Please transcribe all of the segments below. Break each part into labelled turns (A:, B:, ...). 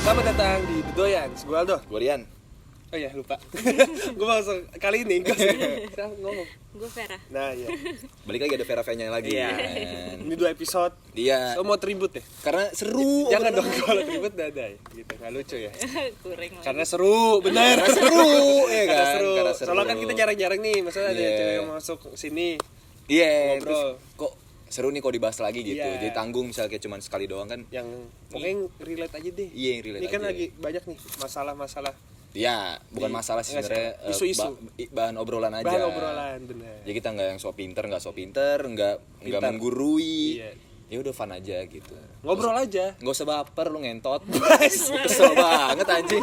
A: Selamat datang di Dodoyan, gue Aldo
B: Gue Rian
A: Oh iya, lupa Gue langsung, kali ini gue ngomong
C: Gue Vera.
A: Nah iya,
B: Balik lagi ada Vera V-nya lagi
A: Iya.
B: kan.
A: ini dua episode
B: Dia
A: So mau tribut ya?
B: Karena seru
A: Jangan dong kalau tribut dadai Gitu, gak lucu ya
C: Kuring lagi.
A: Karena seru, bener
B: Karena seru ya
A: Karena
B: kan
A: seru.
B: Karena
A: Soalnya kan kita jarang-jarang nih, maksudnya ada
B: Iya.
A: cewek yang masuk sini Ngobrol.
B: Iya terus Kok seru nih kok dibahas lagi gitu
A: Iya.
B: Jadi tanggung misalnya kayak cuman sekali doang kan
A: yang pokoknya yang relate aja deh.
B: Iya, yang relate
A: Ini kan
B: aja.
A: lagi banyak nih masalah-masalah
B: Iya bukan masalah sih
A: Nggak sih.
B: sebenarnya eh,
A: Isu-isu.
B: ba- i- Bahan obrolan aja
A: bahan obrolan bener.
B: Jadi kita nggak yang so pinter, nggak so pinter, nggak nggak
A: Pintar.
B: menggurui.
A: Iya.
B: Ya udah fun aja gitu.
A: Ngobrol aja.
B: Gak usah baper lu ngentot. Kesel banget anjing.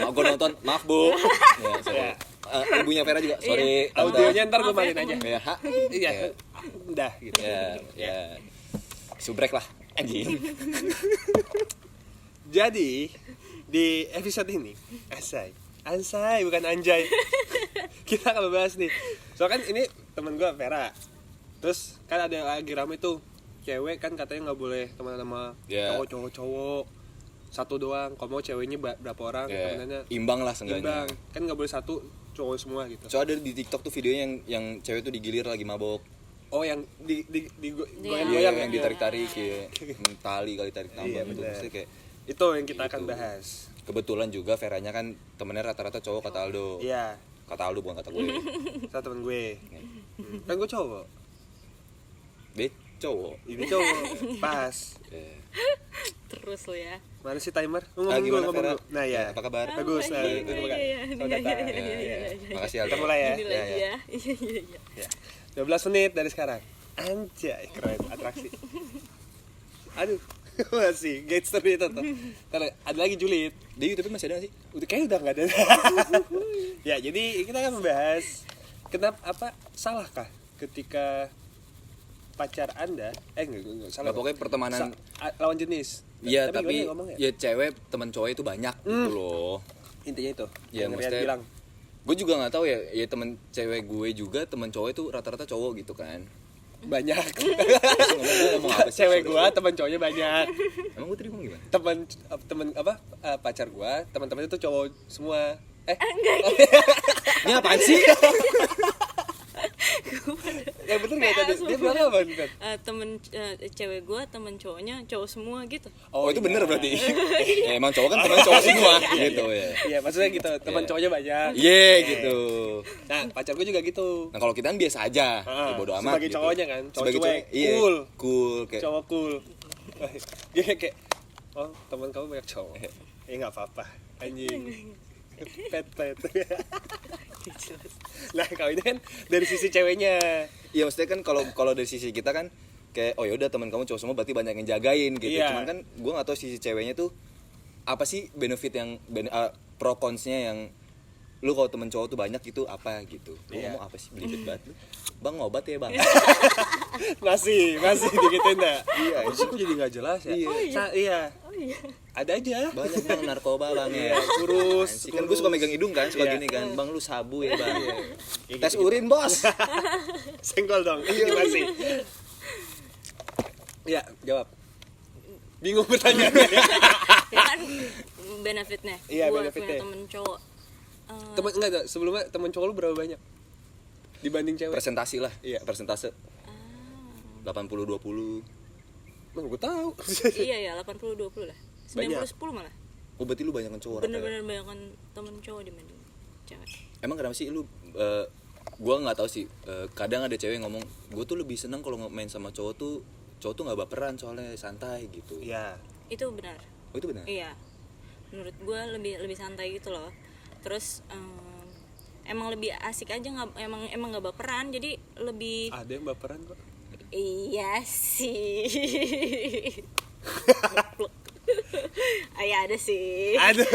B: Maaf gue nonton, maaf Bu. Ya, sorry. Eh, ibunya Vera juga, sorry.
A: Iya,
B: tante.
A: Audionya ntar gue mainin aja.
B: Ya, ha.
A: Iya. Udah gitu.
B: Ya, ya. Subrek lah anjing.
A: Jadi di episode ini, Asai, Ansai bukan Anjay. Kita akan bahas nih. Soalnya kan ini temen gue Vera. Terus kan ada lagi rame tuh cewek kan katanya nggak boleh teman sama
B: Iya.
A: cowok-cowok-cowok satu doang. Kalau mau ceweknya ba- berapa orang
B: Ya,
A: temenannya
B: Imbang lah
A: imbang.
B: seenggaknya.
A: Kan nggak boleh satu cowok semua gitu.
B: Soalnya ada di TikTok tuh videonya yang yang cewek tuh digilir lagi mabok.
A: Oh yang di di di go-
B: Iya,
A: goyang-goyang
B: yang
A: ya?
B: ditarik-tarik ya. Hmm, Tali kali tarik tambah
A: Iya,
B: gitu.
A: bener.
B: Maksudnya kayak
A: Itu yang kita akan
B: Gitu.
A: bahas.
B: kebetulan juga Veranya kan temennya rata-rata cowok kata Aldo.
A: Iya,
B: Kata Aldo bukan kata gue. Iya.
A: satu temen gue. Kan gue cowok.
B: Dia cowok.
A: Ini cowok. Pas.
B: Ya.
C: Terus lu ya.
A: Mana sih timer? Lu ngomong
B: Ah,
A: dulu,
B: gimana,
A: ngomong
B: Vera?
A: dulu. Nah ya.
B: Apa kabar?
A: Bagus. Nah,
B: Iya,
A: gitu, bukan?
B: iya,
C: Oh, iya,
A: Selamat
C: iya,
A: datang.
C: iya, iya, iya.
B: Makasih Aldo.
A: Kita mulai ya.
C: Ini
B: Ya,
C: lagi
B: ya.
C: ya. Iya iya iya.
A: Ya. 12 menit dari sekarang. Anjay, keren atraksi. Aduh, masih gangster itu tuh. Ntar ada lagi julid.
B: Di YouTube masih ada nggak sih?
A: Udah kayaknya udah nggak ada. ya, jadi kita akan membahas kenapa apa salahkah ketika pacar Anda eh enggak, enggak, enggak salah.
B: Nggak, Ya, pokoknya pertemanan-
A: Sa- a- lawan jenis.
B: Iya, tapi,
A: gimana ya ngomongnya?
B: ya cewek teman cowok itu banyak gitu loh.
A: intinya itu.
B: Ya,
A: yang Rian
B: maksudnya-
A: bilang.
B: Gue juga nggak tahu ya, ya temen cewek gue juga teman cowok itu rata-rata cowok gitu kan.
A: banyak
B: Terus ngomong gue ngomong apa sih?
A: cewek gua teman cowoknya banyak
B: Emang gue tadi ngomong gimana?
A: teman teman apa eh, pacar gua teman-temannya tuh cowok semua eh
B: Ini apaan sih?
A: yang bener nggak tadi dia bilang apa bukan
C: Eh, temen eh, cewek gue temen cowoknya cowok semua gitu
B: Oh, itu bener berarti. ya, emang cowok kan teman cowok semua gitu ya.
A: iya maksudnya gitu teman
B: Iya.
A: cowoknya banyak
B: Iya gitu.
A: nah pacar gua juga gitu
B: Nah kalau kita kan biasa aja,
A: Ah,
B: ya bodo amat.
A: sebagai
B: gitu.
A: cowoknya kan, cowok
B: Sebagai
A: cuek,
B: iya,
A: cool.
B: cool kayak
A: cowok cool dia kayak oh teman kamu banyak cowok eh nggak apa-apa anjing pet pet nah kalau ini kan dari sisi ceweknya
B: Iya maksudnya kan kalau kalau dari sisi kita kan kayak oh yaudah teman kamu cowok semua berarti banyak yang jagain gitu.
A: Iya.
B: Cuman kan gue nggak tahu sisi ceweknya tuh apa sih benefit yang ben, ah, pro consnya yang lu kalau temen cowok tuh banyak gitu apa gitu. Lu
A: Iya.
B: ngomong apa sih belibet banget lu. Bang ngobat ya bang.
A: masih masih digituin dah
B: iya.
A: sih kok jadi nggak jelas ya
B: Iya.
A: Sa- iya
C: oh iya
A: ada aja
B: Banyak bang narkoba bang ya.
A: Iya, kurus,
B: Apaan sih? Kan gue suka
A: kurus.
B: megang hidung kan suka
A: Iya.
B: gini kan. Bang lu sabu ya bang.
A: Kayak
B: Tes
A: gitu-gitu.
B: urin bos.
A: senggol dong iya masih ya jawab bingung pertanyaannya
C: ya kan benefitnya
A: Iya,
C: Gua
A: benefitnya.
C: punya temen cowok Eh,
A: teman enggak enggak, sebelumnya teman cowok lu berapa banyak dibanding cewek
B: Presentasi lah.
A: Iya.
B: Persentase. 80 20.
A: Emang gue tahu
C: iya ya 80 20 lah 90 10 malah
B: Oh berarti lu banyak cowok rata-rata.
C: bener-bener banyakan temen cowok dibanding cewek
B: emang kenapa sih lu eh, gua nggak tahu sih eh, kadang ada cewek ngomong gue tuh lebih seneng kalau main sama cowok tuh cowok tuh nggak baperan soalnya santai gitu
A: ya
C: itu benar
B: oh itu benar
C: Iya, menurut gue lebih lebih santai gitu loh. Terus em, emang lebih asik aja nggak emang emang nggak baperan jadi lebih
A: ada yang baperan kok
C: iya sih. Goblok. Ah, ya ada sih.
A: aduh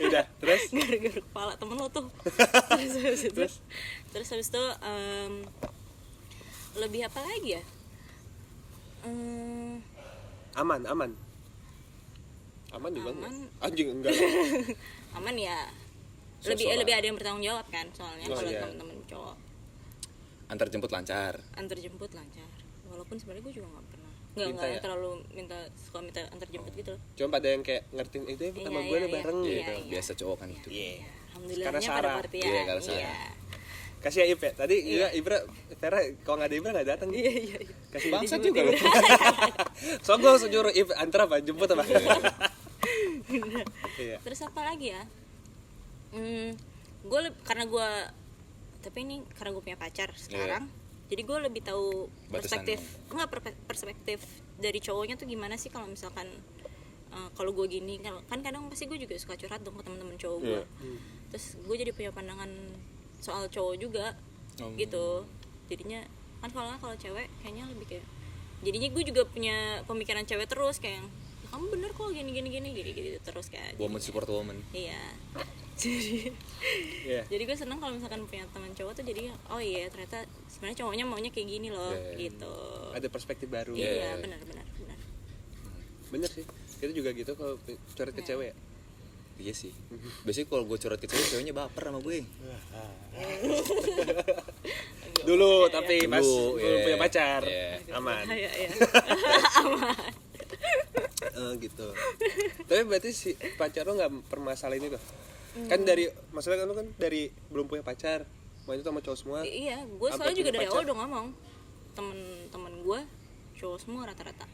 A: udah terus
C: Gara-gara kepala temen lo tuh. terus, habis itu-
A: Terus?
C: terus habis itu em, lebih apa lagi ya? Em,
A: aman aman aman juga
C: Aman.
A: enggak anjing enggak
C: aman ya
B: So-soan.
C: lebih eh, lebih ada yang bertanggung jawab kan soalnya
A: Oh,
C: kalau
A: iya.
C: temen-temen cowok
B: antar jemput lancar
C: antar jemput lancar walaupun sebenarnya gue juga nggak pernah nggak
A: Minta
C: nggak
A: ya?
C: yang terlalu minta suka minta antar jemput gitu loh
A: cuma pada yang kayak ngertiin itu ya sama
C: Iya,
A: gue
C: iya,
A: nih bareng
C: iya,
A: gitu
B: Itu biasa cowok kan itu
A: Iya.
C: alhamdulillahnya
A: Karena
C: pada
A: Sarah.
C: pengertian
B: Iya, karena Sarah.
C: iya
A: kasih ya Ip ya tadi iya. Ibra Vera kalau nggak ada Ibra nggak datang
C: iya iya iya.
A: kasih bangsa juga loh so gue suruh Ip antar apa jemput apa iya
C: terus apa lagi ya hmm, gue karena gue tapi ini karena gue punya pacar sekarang jadi gue lebih tahu
B: Iya. Batasan
C: perspektif enggak perpe- perspektif dari cowoknya tuh gimana sih kalau misalkan eh, kalau gue gini kan, kan kadang pasti gue juga suka curhat dong ke teman-teman cowok gue
B: Iya.
C: terus gue jadi punya pandangan soal cowok juga
B: Oh.
C: gitu jadinya kan kalau kalau cewek kayaknya lebih kayak jadinya gue juga punya pemikiran cewek terus kayak yang, "Ya kamu bener kok gini gini gini gini gitu terus kayak
B: woman support woman
C: Iya. Jadi
A: iya
C: jadi gue seneng kalau misalkan punya teman cowok tuh jadi oh iya ternyata sebenarnya cowoknya maunya kayak gini loh
B: Iya.
C: gitu.
A: ada perspektif baru
B: Iya.
C: Iya benar benar benar.
A: bener sih kita juga gitu kalau curhat ke cewek ya
B: iya sih biasanya kalau gue curhat ke cewek ceweknya baper sama ya. gue
A: dulu tapi pas
B: Dulu,
A: belum
B: iya.
A: punya pacar
B: Iya.
A: aman
C: Iya iya.
A: Eh, gitu tapi berarti si pacar lo nggak permasalahin itu kan dari maksudnya kan lo kan dari belum punya pacar main itu sama cowok semua
C: I- iya, gue
A: Sampai
C: soalnya juga
A: punya
C: dari
A: pacar.
C: awal udah ngomong temen-temen gue cowok semua rata-rata.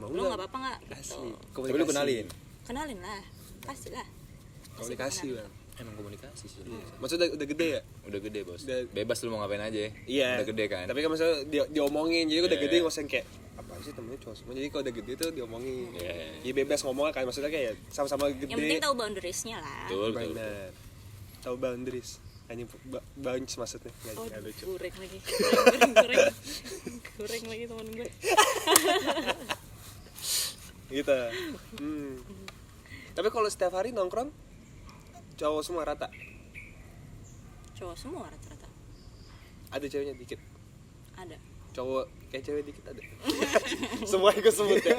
A: Mau
C: Lo
A: nggak?
C: nggak apa-apa nggak?
A: asli
C: Gitu.
B: tapi lu
A: Komunikasi.
B: kenalin
C: Kenalin lah, pasti lah. Pasti
A: komunikasi
C: kenalin.
A: bang
B: emang komunikasi sih sebenarnya.
A: maksudnya udah, udah gede ya
B: udah gede bos
A: Iya. Udah-
B: bebas lu mau ngapain aja ya.
A: iya
B: udah gede kan
A: tapi kan maksudnya dia, diomongin jadi udah
B: Iya.
A: gede ngoseng kayak apa sih temennya cowok semua jadi kalau udah gede tuh diomongin
B: Iya.
A: jadi bebas ngomong kan maksudnya kayak sama-sama
C: Yang penting
A: gede
C: tahu boundariesnya lah.
B: betul betul, betul.
A: benar tahu boundaries anjing ba- bounce maksudnya gitu. nggak
C: Oh,
A: nggak Iya, lucu
C: goreng lagi. goreng, goreng. goreng lagi temen gue.
A: gitu hmm. tapi kalau setiap hari nongkrong cowok semua rata
C: Cowok semua rata-rata.
A: ada ceweknya dikit
C: Ada.
A: cowok kayak cewek dikit ada semua yang gue sebut ya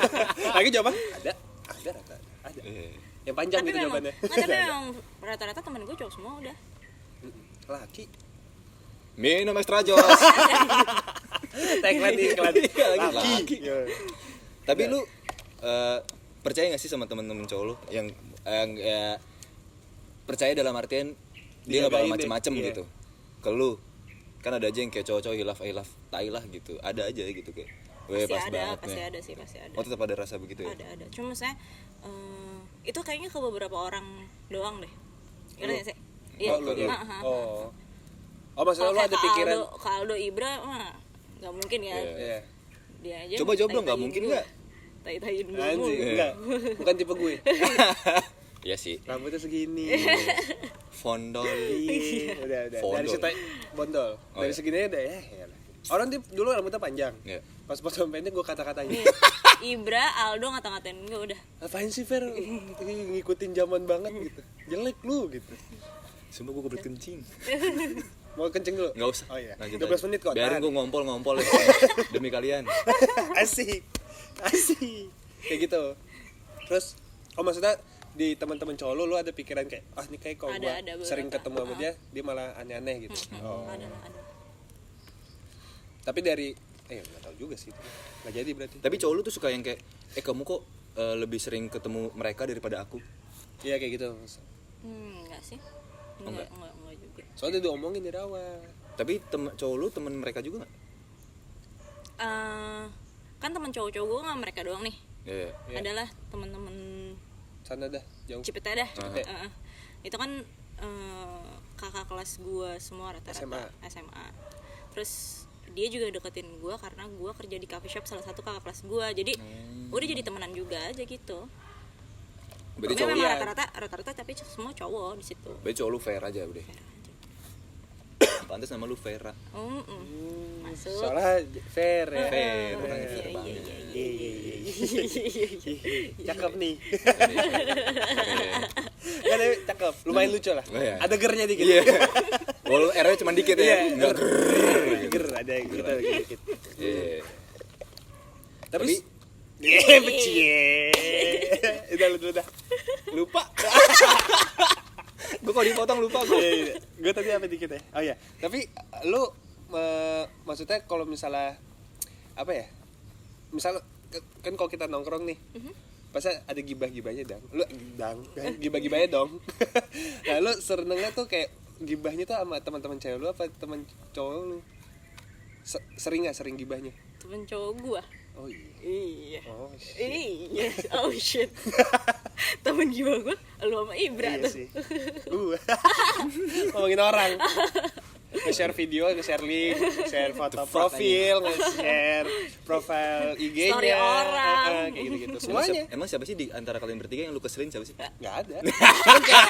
A: lagi jawaban ada ada rata ada
B: Iya.
A: yang panjang
C: tapi
A: gitu
C: memang,
A: jawabannya
C: nggak, tapi memang rata-rata temen gue cowok semua udah.
A: laki
B: minum extra jos
A: tagline nih iklan
B: Laki.
A: laki Iya.
B: Tapi lu eh, percaya gak sih sama temen-temen cowok lu yang yang, ya, percaya dalam artian dia gak bakal
A: Dijagain deh,
B: macem-macem
A: iya.
B: gitu ke lu kan ada aja yang kayak cowok-cowok hilaf hilaf tai lah gitu ada aja gitu kayak weh
C: Pasti
B: pas
C: ada,
B: banget
C: pasti
B: nih.
C: ada sih, pasti ada.
B: oh tetap ada rasa begitu ya
C: Ada, ada. Cuma saya eh, itu kayaknya ke beberapa orang doang deh. Ngerti nggak sih? Iya.
A: oh, lu, lu.
C: Ah, ah.
A: oh oh maksudnya
C: Kalau
A: lu
C: kayak
A: ada
C: ke
A: pikiran
C: Aldo, ke Aldo Ibra mah nggak mungkin ya.
B: Iya.
A: Iya.
C: Dia aja.
B: Coba jomblo nggak mungkin nggak?
C: Tai-taiin gue.
A: anjing
B: Iya.
A: enggak bukan tipe gue
B: Iya sih
A: rambutnya segini
C: Iya.
B: fondol
A: Iya, udah udah dari
B: Bondol.
A: situ bondol
B: Oh,
A: dari
B: iya.
A: segini aja udah ya elah. orang tuh dulu rambutnya panjang
B: Iya.
A: pas potong pendek gue kata-katain
C: Nih, Iya. Ibra, Aldo ngata-ngatain gue udah.
A: Apaan sih Fer ngikutin zaman banget gitu Jelek lu gitu
B: sumpah gue kebelet kencing
A: Mau kenceng dulu?
B: nggak usah
A: Oh iya 12
B: Lanjut aja.
A: menit kok
B: biarin
A: tahan.
B: gue ngompol-ngompol ya. demi kalian
A: Asik Asik Kayak gitu Terus Oh maksudnya di teman-teman cowok lu, lu ada pikiran kayak ah ini kayak kalau
C: Ada,
A: gua
C: ada beberapa. Ah.
A: sering ketemu sama dia dia malah aneh-aneh gitu
C: Oh. Ada, ada.
A: tapi dari eh nggak tahu juga sih itu. nggak jadi berarti
B: tapi cowok lu tuh suka yang kayak eh kamu kok eh, lebih sering ketemu mereka daripada aku
A: iya kayak gitu
C: Hmm, enggak sih.
B: enggak.
C: Enggak, enggak, enggak juga.
A: soalnya dia diomongin dari awal
B: Tapi tem cowok lu temen mereka juga gak?
C: eh kan teman cowok-cowok gue nggak mereka doang nih
B: Iya
A: Iya.
C: adalah teman-teman
A: sana dah jauh
C: Cipete dah
B: Cipete.
C: Eh, eh. itu kan eh, kakak kelas gue semua rata-rata
A: SMA.
C: SMA. terus dia juga deketin gue karena gue kerja di coffee shop salah satu kakak kelas gue jadi udah jadi temenan juga aja gitu
B: Berarti
C: Tapi
B: cowok,
C: memang
A: iya.
C: rata-rata rata-rata tapi semua cowok di situ
B: berarti cowok lu Vera aja udah Pantes nama lu Vera
C: Mm, mm. masuk
A: soalnya fair ya
B: Vera
C: Iya,
B: bukannya Vera
C: iya,
B: banget
C: iya, iya.
A: Iya, iya, iya, iya. cakep nih Gak ada cakep, lumayan lucu lah.
B: Oh, iya.
A: Ada gernya dikit.
B: Iya Walau R nya cuma dikit ya
A: Iya,
B: Nggak
A: ger.
B: grrrr.
A: Ger ada yang gitu dikit.
B: Iya
A: Tapi
B: Tapi-
A: Eh, pecie. Udah lu dulu dah.
B: Lupa Gue kalau dipotong lupa
A: Iya,
B: gue
A: Gue tadi apa dikit ya? Oh iya, tapi lu eh, maksudnya kalau misalnya apa ya? misal ke- kan kalau kita nongkrong nih pasti ada gibah-gibahnya dang lu dang kan? gibah-gibahnya dong nah lu serenengnya tuh kayak gibahnya tuh sama teman-teman cewek lu apa teman cowok lu Se- sering nggak sering gibahnya
C: temen cowok gua
A: oh iya
C: iya
A: oh shit.
C: iya oh shit temen gua gua lu sama Ibra
A: iya
C: tuh
A: sih uh ngomongin orang nge-share video, nge-share link, nge-share foto
B: fuck,
A: profil, nge-share profile IG-nya,
C: Story orang.
A: eh, eh, kayak gitu-gitu
B: Emang siapa,
A: semuanya.
B: emang siapa sih di antara kalian bertiga yang lu keselin siapa sih?
C: Iya.
A: nggak ada Cuman kayak,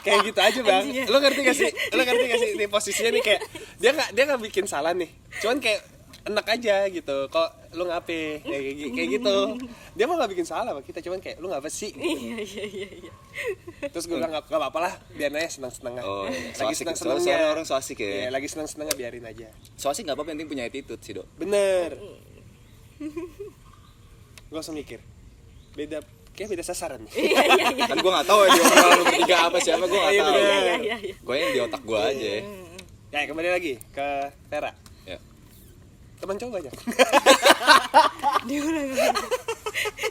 A: kayak gitu aja bang
C: Anjing ya.
A: lo ngerti gak sih lo ngerti gak sih ini posisinya nih kayak dia nggak dia nggak bikin salah nih cuman kayak enak aja gitu kok lo ngape kayak, gi- kayak gitu dia mah nggak bikin salah sama kita cuman kayak lo ngapa sih
C: iya iya iya iya
A: terus gue bilang nggak nggak apa-apa lah biarin aja senang senengnya
B: Oh, iya. So
A: lagi
B: asik.
A: senang
B: Soalnya
A: senengnya
B: orang so asik ya.
A: lagi senang senengnya biarin aja
B: Soalnya nggak apa-apa yang penting punya attitude sih dok.
A: bener gue langsung mikir beda kayak beda sasaran nih
C: iya iya iya
B: Kan gua nggak tahu ya di otak lu bertiga apa siapa gua nggak
A: Iya,
B: tahu.
A: bener.
C: iya iya iya
B: Gua yang di otak gua aja. ya.
A: ya kembali lagi ke Tera
B: Ya.
A: teman cowok banyak
C: dia udah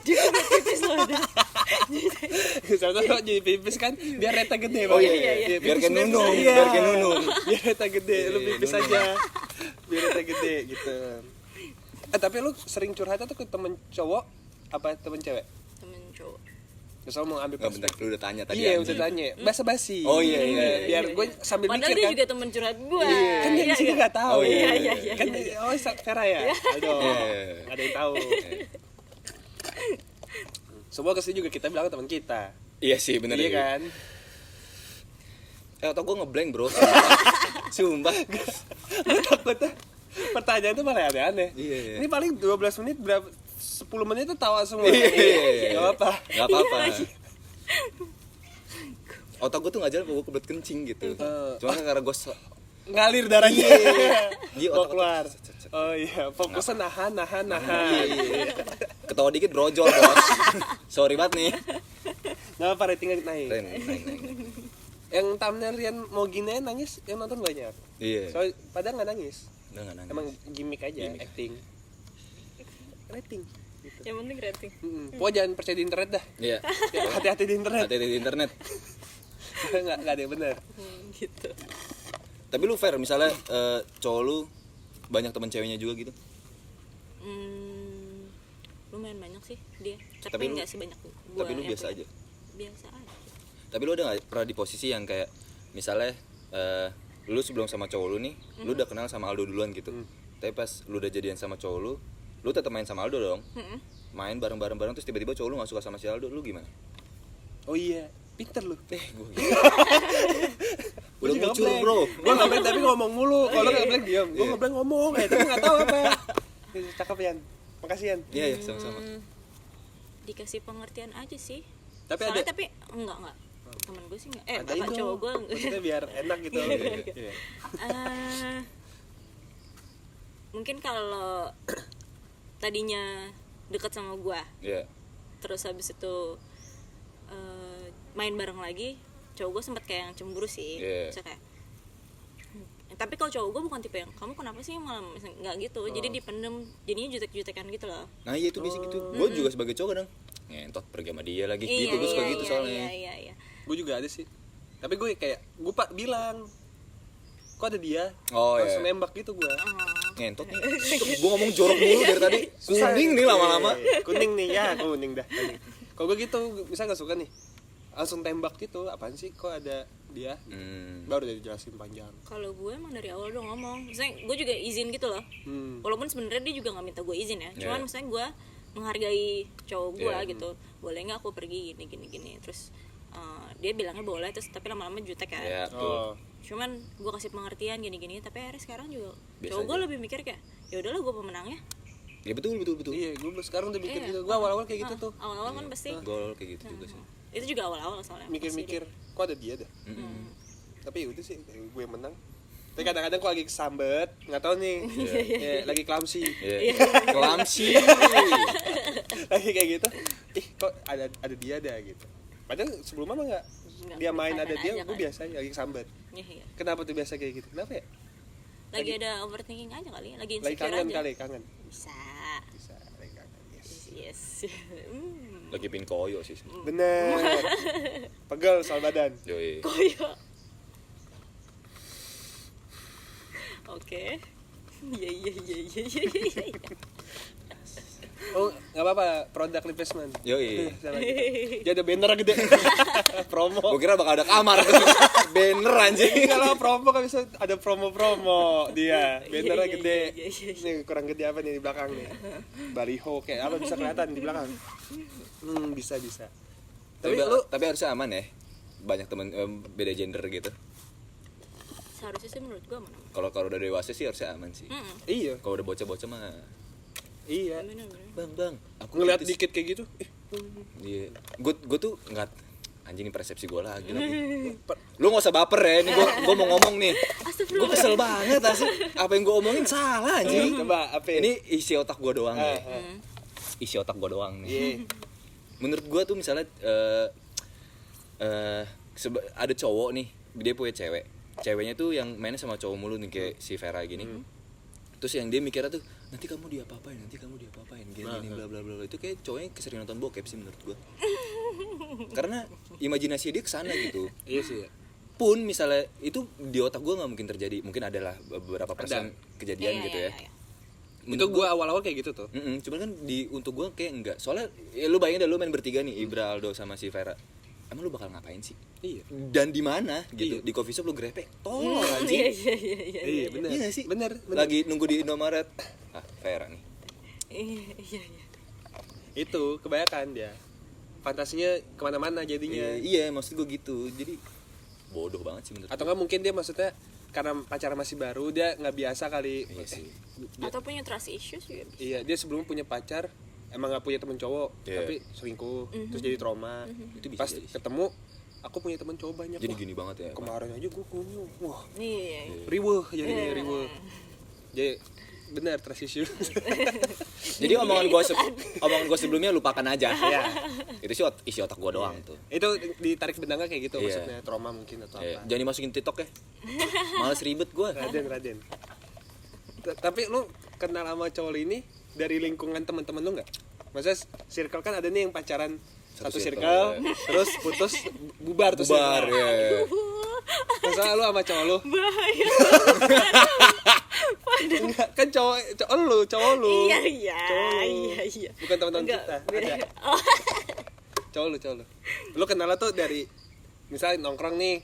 C: dia udah pipis loh udah
A: Sampai lo jadi pipis kan biar reta gede
B: Oh
A: Bang.
B: iya,
C: iya, iya.
A: Dia
B: biar
A: pipis
B: kayak
A: biar
B: nunung,
A: bisa-
B: biar kayak nunung.
A: Biar reta gede, lu
B: Iya,
A: pipis
B: nunung.
A: aja. Biar reta gede gitu. Eh tapi lu sering curhat tuh ke temen cowok apa temen cewek?
C: temen cowok
A: Misal mau ambil
B: Nggak bentar, lu udah tanya tadi.
A: Iya,
B: anjing.
A: udah tanya. Basa basi.
B: Oh, iya, iya, iya.
A: Biar gue sambil
C: Hmm. padahal
A: mikir
C: dia
A: kan.
C: juga temen curhat gua
A: Iya. Kan dia di sini
C: iya.
A: enggak tahu.
B: Oh, iya,
C: iya, iya,
A: Kan oh Sa- Vera ya. Aduh.
B: Iya.
A: nggak Ada yang tahu. Semua kesini juga kita bilang ke teman kita.
B: Iya sih bener
A: iya
B: juga.
A: kan?
B: Eh otak gua ngeblank bro. Sumpah.
A: Lu takutnya pertanyaan tuh malah aneh-aneh.
B: Iya, iya.
A: Ini paling 12 menit berapa 10 menit tuh tawa semua.
B: Iya, iya, iya.
A: Gak apa.
B: Nggak apa-apa.
C: Iya lagi.
B: Otak gua tuh nggak jalan, gua kebelet kencing gitu.
A: Eh.
B: Cuma karena gua so-
A: Ngalir darahnya.
B: Iya. Di
A: Mau
B: otak-otak.
A: keluar. Oh iya, fokusnya nahan, nahan,
B: Iya,
A: nahan.
B: ketawa dikit brojol bos. Sorry banget nih.
A: Gak apa ratingnya naik.
B: Keren, keren, keren.
A: Yang thumbnail Rian mau gini nangis, yang nonton banyak.
B: Iya.
A: So, padahal nggak nangis.
B: Udah nggak nangis.
A: Emang gimmick aja,
B: Gimmick.
A: acting. Rating. Gitu.
C: yang penting rating
A: Mm-mm. Pokoknya jangan percaya di internet dah.
B: Iya.
A: Ya, Hati-hati di internet.
B: Hati-hati di internet.
A: Nggak nggak ada yang benar.
C: Hmm, gitu
B: Tapi lu fair misalnya eh, cowok lu banyak teman ceweknya juga gitu.
C: Hmm, lumayan banyak sih dia tapi,
B: Tapi lu-
C: nggak sebanyak gua
B: tapi lu
C: yang
B: biasa
C: punya.
B: aja?
C: biasa aja
B: Tapi lu udah gak pernah di posisi yang kayak misalnya eh, lu sebelum sama cowok lu nih, lu udah kenal sama Aldo duluan gitu. Tapi pas lu udah jadian sama cowok lu, lu tetap main sama Aldo dong.
C: Mm-mm.
B: Main bareng-bareng bareng terus tiba-tiba cowok lu gak suka sama si Aldo, lu gimana?
A: Oh iya, pinter lu.
B: Eh, gua
A: Gua
B: Udah
A: juga
B: muncul,
A: ngeblank.
B: Bro. Iya,
A: Gua ngeblank tapi ngomong mulu. Kalau lu ngeblank diam. Gua ngeblank ngomong, eh tapi enggak tahu apa. Eh, Cakep Yan. Makasih Yan.
B: Iya, iya, sama-sama.
C: Hmm, dikasih pengertian aja sih
A: Tapi
C: Soalnya
A: ada-
C: tapi enggak enggak temen gue sih enggak eh
A: Adain
C: kakak
A: dong.
C: cowok gue
A: Maksudnya biar enak gitu.
B: Iya, iya,
A: Iya.
C: Eh, mungkin kalau tadinya deket sama gua
B: Iya.
C: terus habis itu eh, main bareng lagi cowok gue sempet kayak yang cemburu sih
B: Iya.
C: Maksudnya kayak, "Hmm." tapi kalau cowok gue bukan tipe yang kamu kenapa sih malam Misalnya nggak gitu
B: Oh.
C: jadi dipendem jadinya jutek-jutekan gitu loh
B: Nah, iya itu biasa gitu. Gua juga sebagai cowok kadang ngentot pergi sama dia lagi gitu, gua suka gitu
C: iya,
B: soalnya.
C: iya, iya, iya.
A: Gua juga ada sih. Tapi gue kayak gue pak bilang kok ada dia
B: Oh, iya.
A: langsung nembak gitu gue
C: Oh.
B: Ngentot nih. Gua ngomong jorok mulu dari tadi. Kuning nih lama-lama.
A: kuning nih ya kuning dah kuning. kalau gue gitu misalnya gak suka nih langsung tembak gitu apaan sih kok ada dia
B: Hmm.
A: baru udah dijelasin panjang
C: kalau gue emang dari awal udah ngomong misalnya gue juga izin gitu loh
A: hmm.
C: walaupun sebenarnya dia juga nggak minta gue izin ya cuman
B: Iya.
C: misalnya gue menghargai cowok gue
B: Iya.
C: gitu boleh nggak aku pergi gini gini gini terus eh, dia bilangnya boleh terus tapi lama-lama jutek kan
B: Iya, betul.
A: oh
C: cuman gue kasih pengertian gini gini tapi akhirnya sekarang juga
B: Biasa
C: cowok gue
B: aja.
C: lebih mikir kayak ya udahlah gue pemenangnya
B: Ya betul betul betul.
A: iya gue sekarang udah mikir
C: Iya.
A: gitu gue awal-awal kayak gitu tuh
C: awal-awal kan pasti
B: Gol kayak gitu juga sih.
C: itu juga awal-awal soalnya
A: mikir-mikir kok ada dia dah
B: Mm-mm.
A: tapi ya udah sih gue yang menang tapi kadang-kadang kok lagi kesambet nggak tahu nih Iya, lagi klamsi
B: Iya. Kelamsi.
A: lagi kayak gitu ih kok ada ada dia dah gitu padahal sebelumnya mah nggak
C: Nggak,
A: dia main
C: fine-fine
A: ada dia
C: aja
A: gue
C: kan.
A: biasa lagi kesambet
C: Iya, iya.
A: kenapa tuh biasa kayak gitu kenapa ya
C: lagi ada overthinking aja kali ya, lagi
A: lagi
C: insecure
A: kangen
C: aja
A: kali kangen
C: bisa
A: bisa lenggangan yes
C: yes Hmm.
B: lagi pin koyo sih
A: bener pegel soal badan
B: Yoi.
C: koyo oke iya iya iya iya iya, iya
A: oh nggak apa-apa product replacement
B: Yoi.
A: Salah gitu. dia ada banner gede promo
B: Gue kira bakal ada kamar Banner anjing
A: kalau promo kan bisa ada promo-promo dia bannernya
C: Iya, iya,
A: gede
C: iya, iya,
A: ini kurang gede apa nih di belakang nih baliho kayak apa bisa kelihatan di belakang hmm bisa bisa
B: tapi,
A: tapi lu
B: tapi harusnya aman ya banyak temen em, beda gender gitu
C: seharusnya sih menurut gua mana
B: kalau kalau udah dewasa sih harusnya aman sih
C: hmm.
A: iya
B: kalau udah bocah-bocah mah
A: iya
C: bener bener
B: bang bang aku
A: ngeliat
B: kritis."
A: dikit kayak gitu eh,
B: iya gue gue tuh nggak anjing ini persepsi gue lagi lagi.
A: Hmm.
B: lu nggak usah baper ya ini gue gue mau ngomong nih gue
C: astagfirullah
B: kesel banget asli apa yang gue omongin salah anjing
A: coba apa ya?
B: ini isi otak gue doang
A: Iya. Ah,
B: ya
A: ah.
B: isi otak gue doang nih
A: Iya.
B: menurut gua tuh misalnya eh eh, seba- ada cowok nih dia punya cewek ceweknya tuh yang mainnya sama cowok mulu nih kayak si Vera gini
A: Hmm.
B: terus yang dia mikirnya tuh nanti kamu diapa-apain nanti kamu diapa-apain gini gini
A: Nah,
B: bla bla bla bla." itu kayak cowoknya keseringan nonton bokep sih menurut gua karena imajinasi dia kesana gitu
A: iya sih ya.
B: pun misalnya itu di otak gua nggak mungkin terjadi mungkin adalah beberapa persen kejadian
C: Iya,
B: gitu
C: iya,
B: ya,
C: iya, iya.
A: itu gue awal-awal kayak gitu tuh
B: Mm-mm, cuman kan di untuk gue kayak enggak. Soalnya ya lu bayangin dah lu main bertiga
A: Mm.
B: nih Ibra Aldo sama si Vera. Emang lu bakal ngapain sih?
A: iya
B: Dan di mana gitu?
A: Iya. Mm.
B: Di coffee shop lu grepek. Tolol
C: iya
B: anjing.
C: iya iya iya
A: iya bener
B: Iya nggak sih?
A: bener bener
B: Lagi nunggu di Indomaret. Ah, Vera nih.
C: iya iya iya
A: itu kebanyakan dia fantasinya kemana-mana
B: Iya,
A: jadinya
B: iya maksud gue gitu. Jadi bodoh banget sih menurut
A: atau nggak mungkin dia maksudnya karena pacaran masih baru dia nggak biasa kali
B: Iya sih.
C: atau punya trust issues juga bisa.
A: Iya, dia sebelum punya pacar emang nggak punya temen cowok,
B: Iya.
A: tapi selingkuh, terus jadi trauma.
B: Itu bisa
A: Pas
B: jadi sih.
A: ketemu, aku punya temen cowok banyak.
B: Jadi
A: Wah,
B: gini banget ya. Pak.
A: kemarin aja gue kunyuh, wah
C: iya iya iya.
A: riweh jadi riweh. Jadi benar trust issue.
B: Jadi omongan gue omongan gua sebelumnya lupakan aja.
A: Iya.
B: Itu sih ot- isi otak gue doang tuh.
A: Itu ditarik benangnya kayak gitu
B: Iya.
A: maksudnya trauma mungkin atau
B: Iya,
A: apa.
B: Jangan dimasukin TikTok ya. Males ribet gue.
A: Raden, Raden. T- Tapi lu kenal sama cowok ini dari lingkungan teman-teman lu nggak? Maksudnya s- circle kan ada nih yang pacaran satu,
B: Satu
A: circle,
B: circle, ya.
A: terus putus bu- bubar terus
B: Bubar ya.
A: Masalah lu sama cowok lu
C: bahaya
A: Enggak, kan cowok cowok lu, cowok lu.
C: iya iya
A: Cowok lu.
C: iya iya
A: Bukan teman-teman
C: Enggak,
A: kita.
C: beda.
A: Ada.
C: Oh,
A: Cowok lu, cowok lu. Lu kenal tuh dari misalnya nongkrong nih.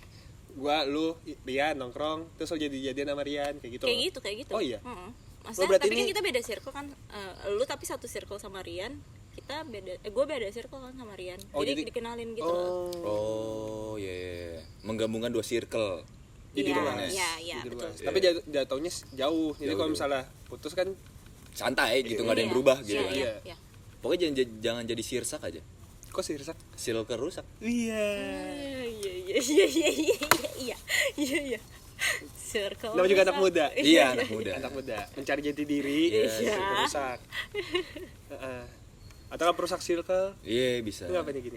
A: Gua, lu, I- Rian nongkrong, terus lu jadi-jadian sama Rian kayak gitu.
C: kayak gitu kayak gitu
A: Oh iya.
C: Mm-mm.
A: Oh,
C: maksudnya
A: berarti
C: tapi kan
A: ini-
C: kita beda circle kan Eh, lu tapi satu circle sama Rian kita beda eh, gue beda circle kan sama Rian
A: Oh,
C: jadi,
A: jadi-
C: dikenalin gitu loh.
A: Oh.
B: Oh, iya, iya, iya. Menggabungkan dua circle.
A: jadi
C: Iya,
A: luas.
C: iya iya
A: Jadi
C: betul
A: luas. Tapi jat- jatuhnya s- jauh. Jadi kalau
B: Jauh, jauh.
A: misalnya putus kan
B: Santai gitu, nggak ada yang
C: Iya,
B: berubah gitu.
C: iya,
B: kan.
C: iya,
A: Iya.
C: iya.
B: Pokoknya jangan, jangan- jangan jadi sirsak aja.
A: kok sih rusak?
B: Circle rusak.
A: Iya.
C: iya iya iya iya iya iya iya iya circle
A: Namanya juga
C: besar.
A: anak muda.
B: Iya, anak muda.
A: Anak muda mencari jati diri,
B: Iya.
A: circle rusak. Heeh. Atau kan perusak circle?
B: Iya, bisa.
A: Enggak apa nih gini.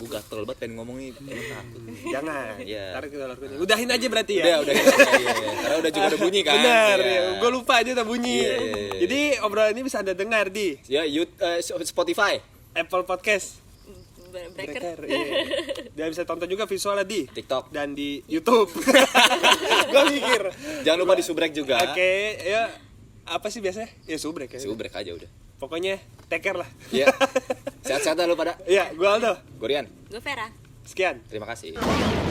B: Gue gatel banget pengen ngomong nih. Emang takut.
A: Jangan.
B: Iya.
A: Tarik kita lakukan. Udahin aja berarti ya.
B: Udah, udah. iya, iya, iya. Karena udah juga udah bunyi kan.
A: Benar,
B: Iya.
A: gue lupa aja udah bunyi.
B: Iya, iya, iya.
A: Jadi obrolan ini bisa anda dengar di
B: Ya, YouTube, eh, Spotify,
A: Apple Podcast.
C: Mm, Ber- breaker
A: Breaker, iya. Dan bisa tonton juga visualnya di
B: TikTok.
A: dan di YouTube. gue mikir.
B: Jangan lupa di subrek juga.
A: Oke, ya apa sih biasanya? Ya subrek ya.
B: Subrek aja udah.
A: Pokoknya take care lah.
B: Iya. Sehat-sehat dah lu pada.
A: Iya, gue Aldo.
B: Gorian,
C: gue Vera
A: Sekian.
B: terima kasih.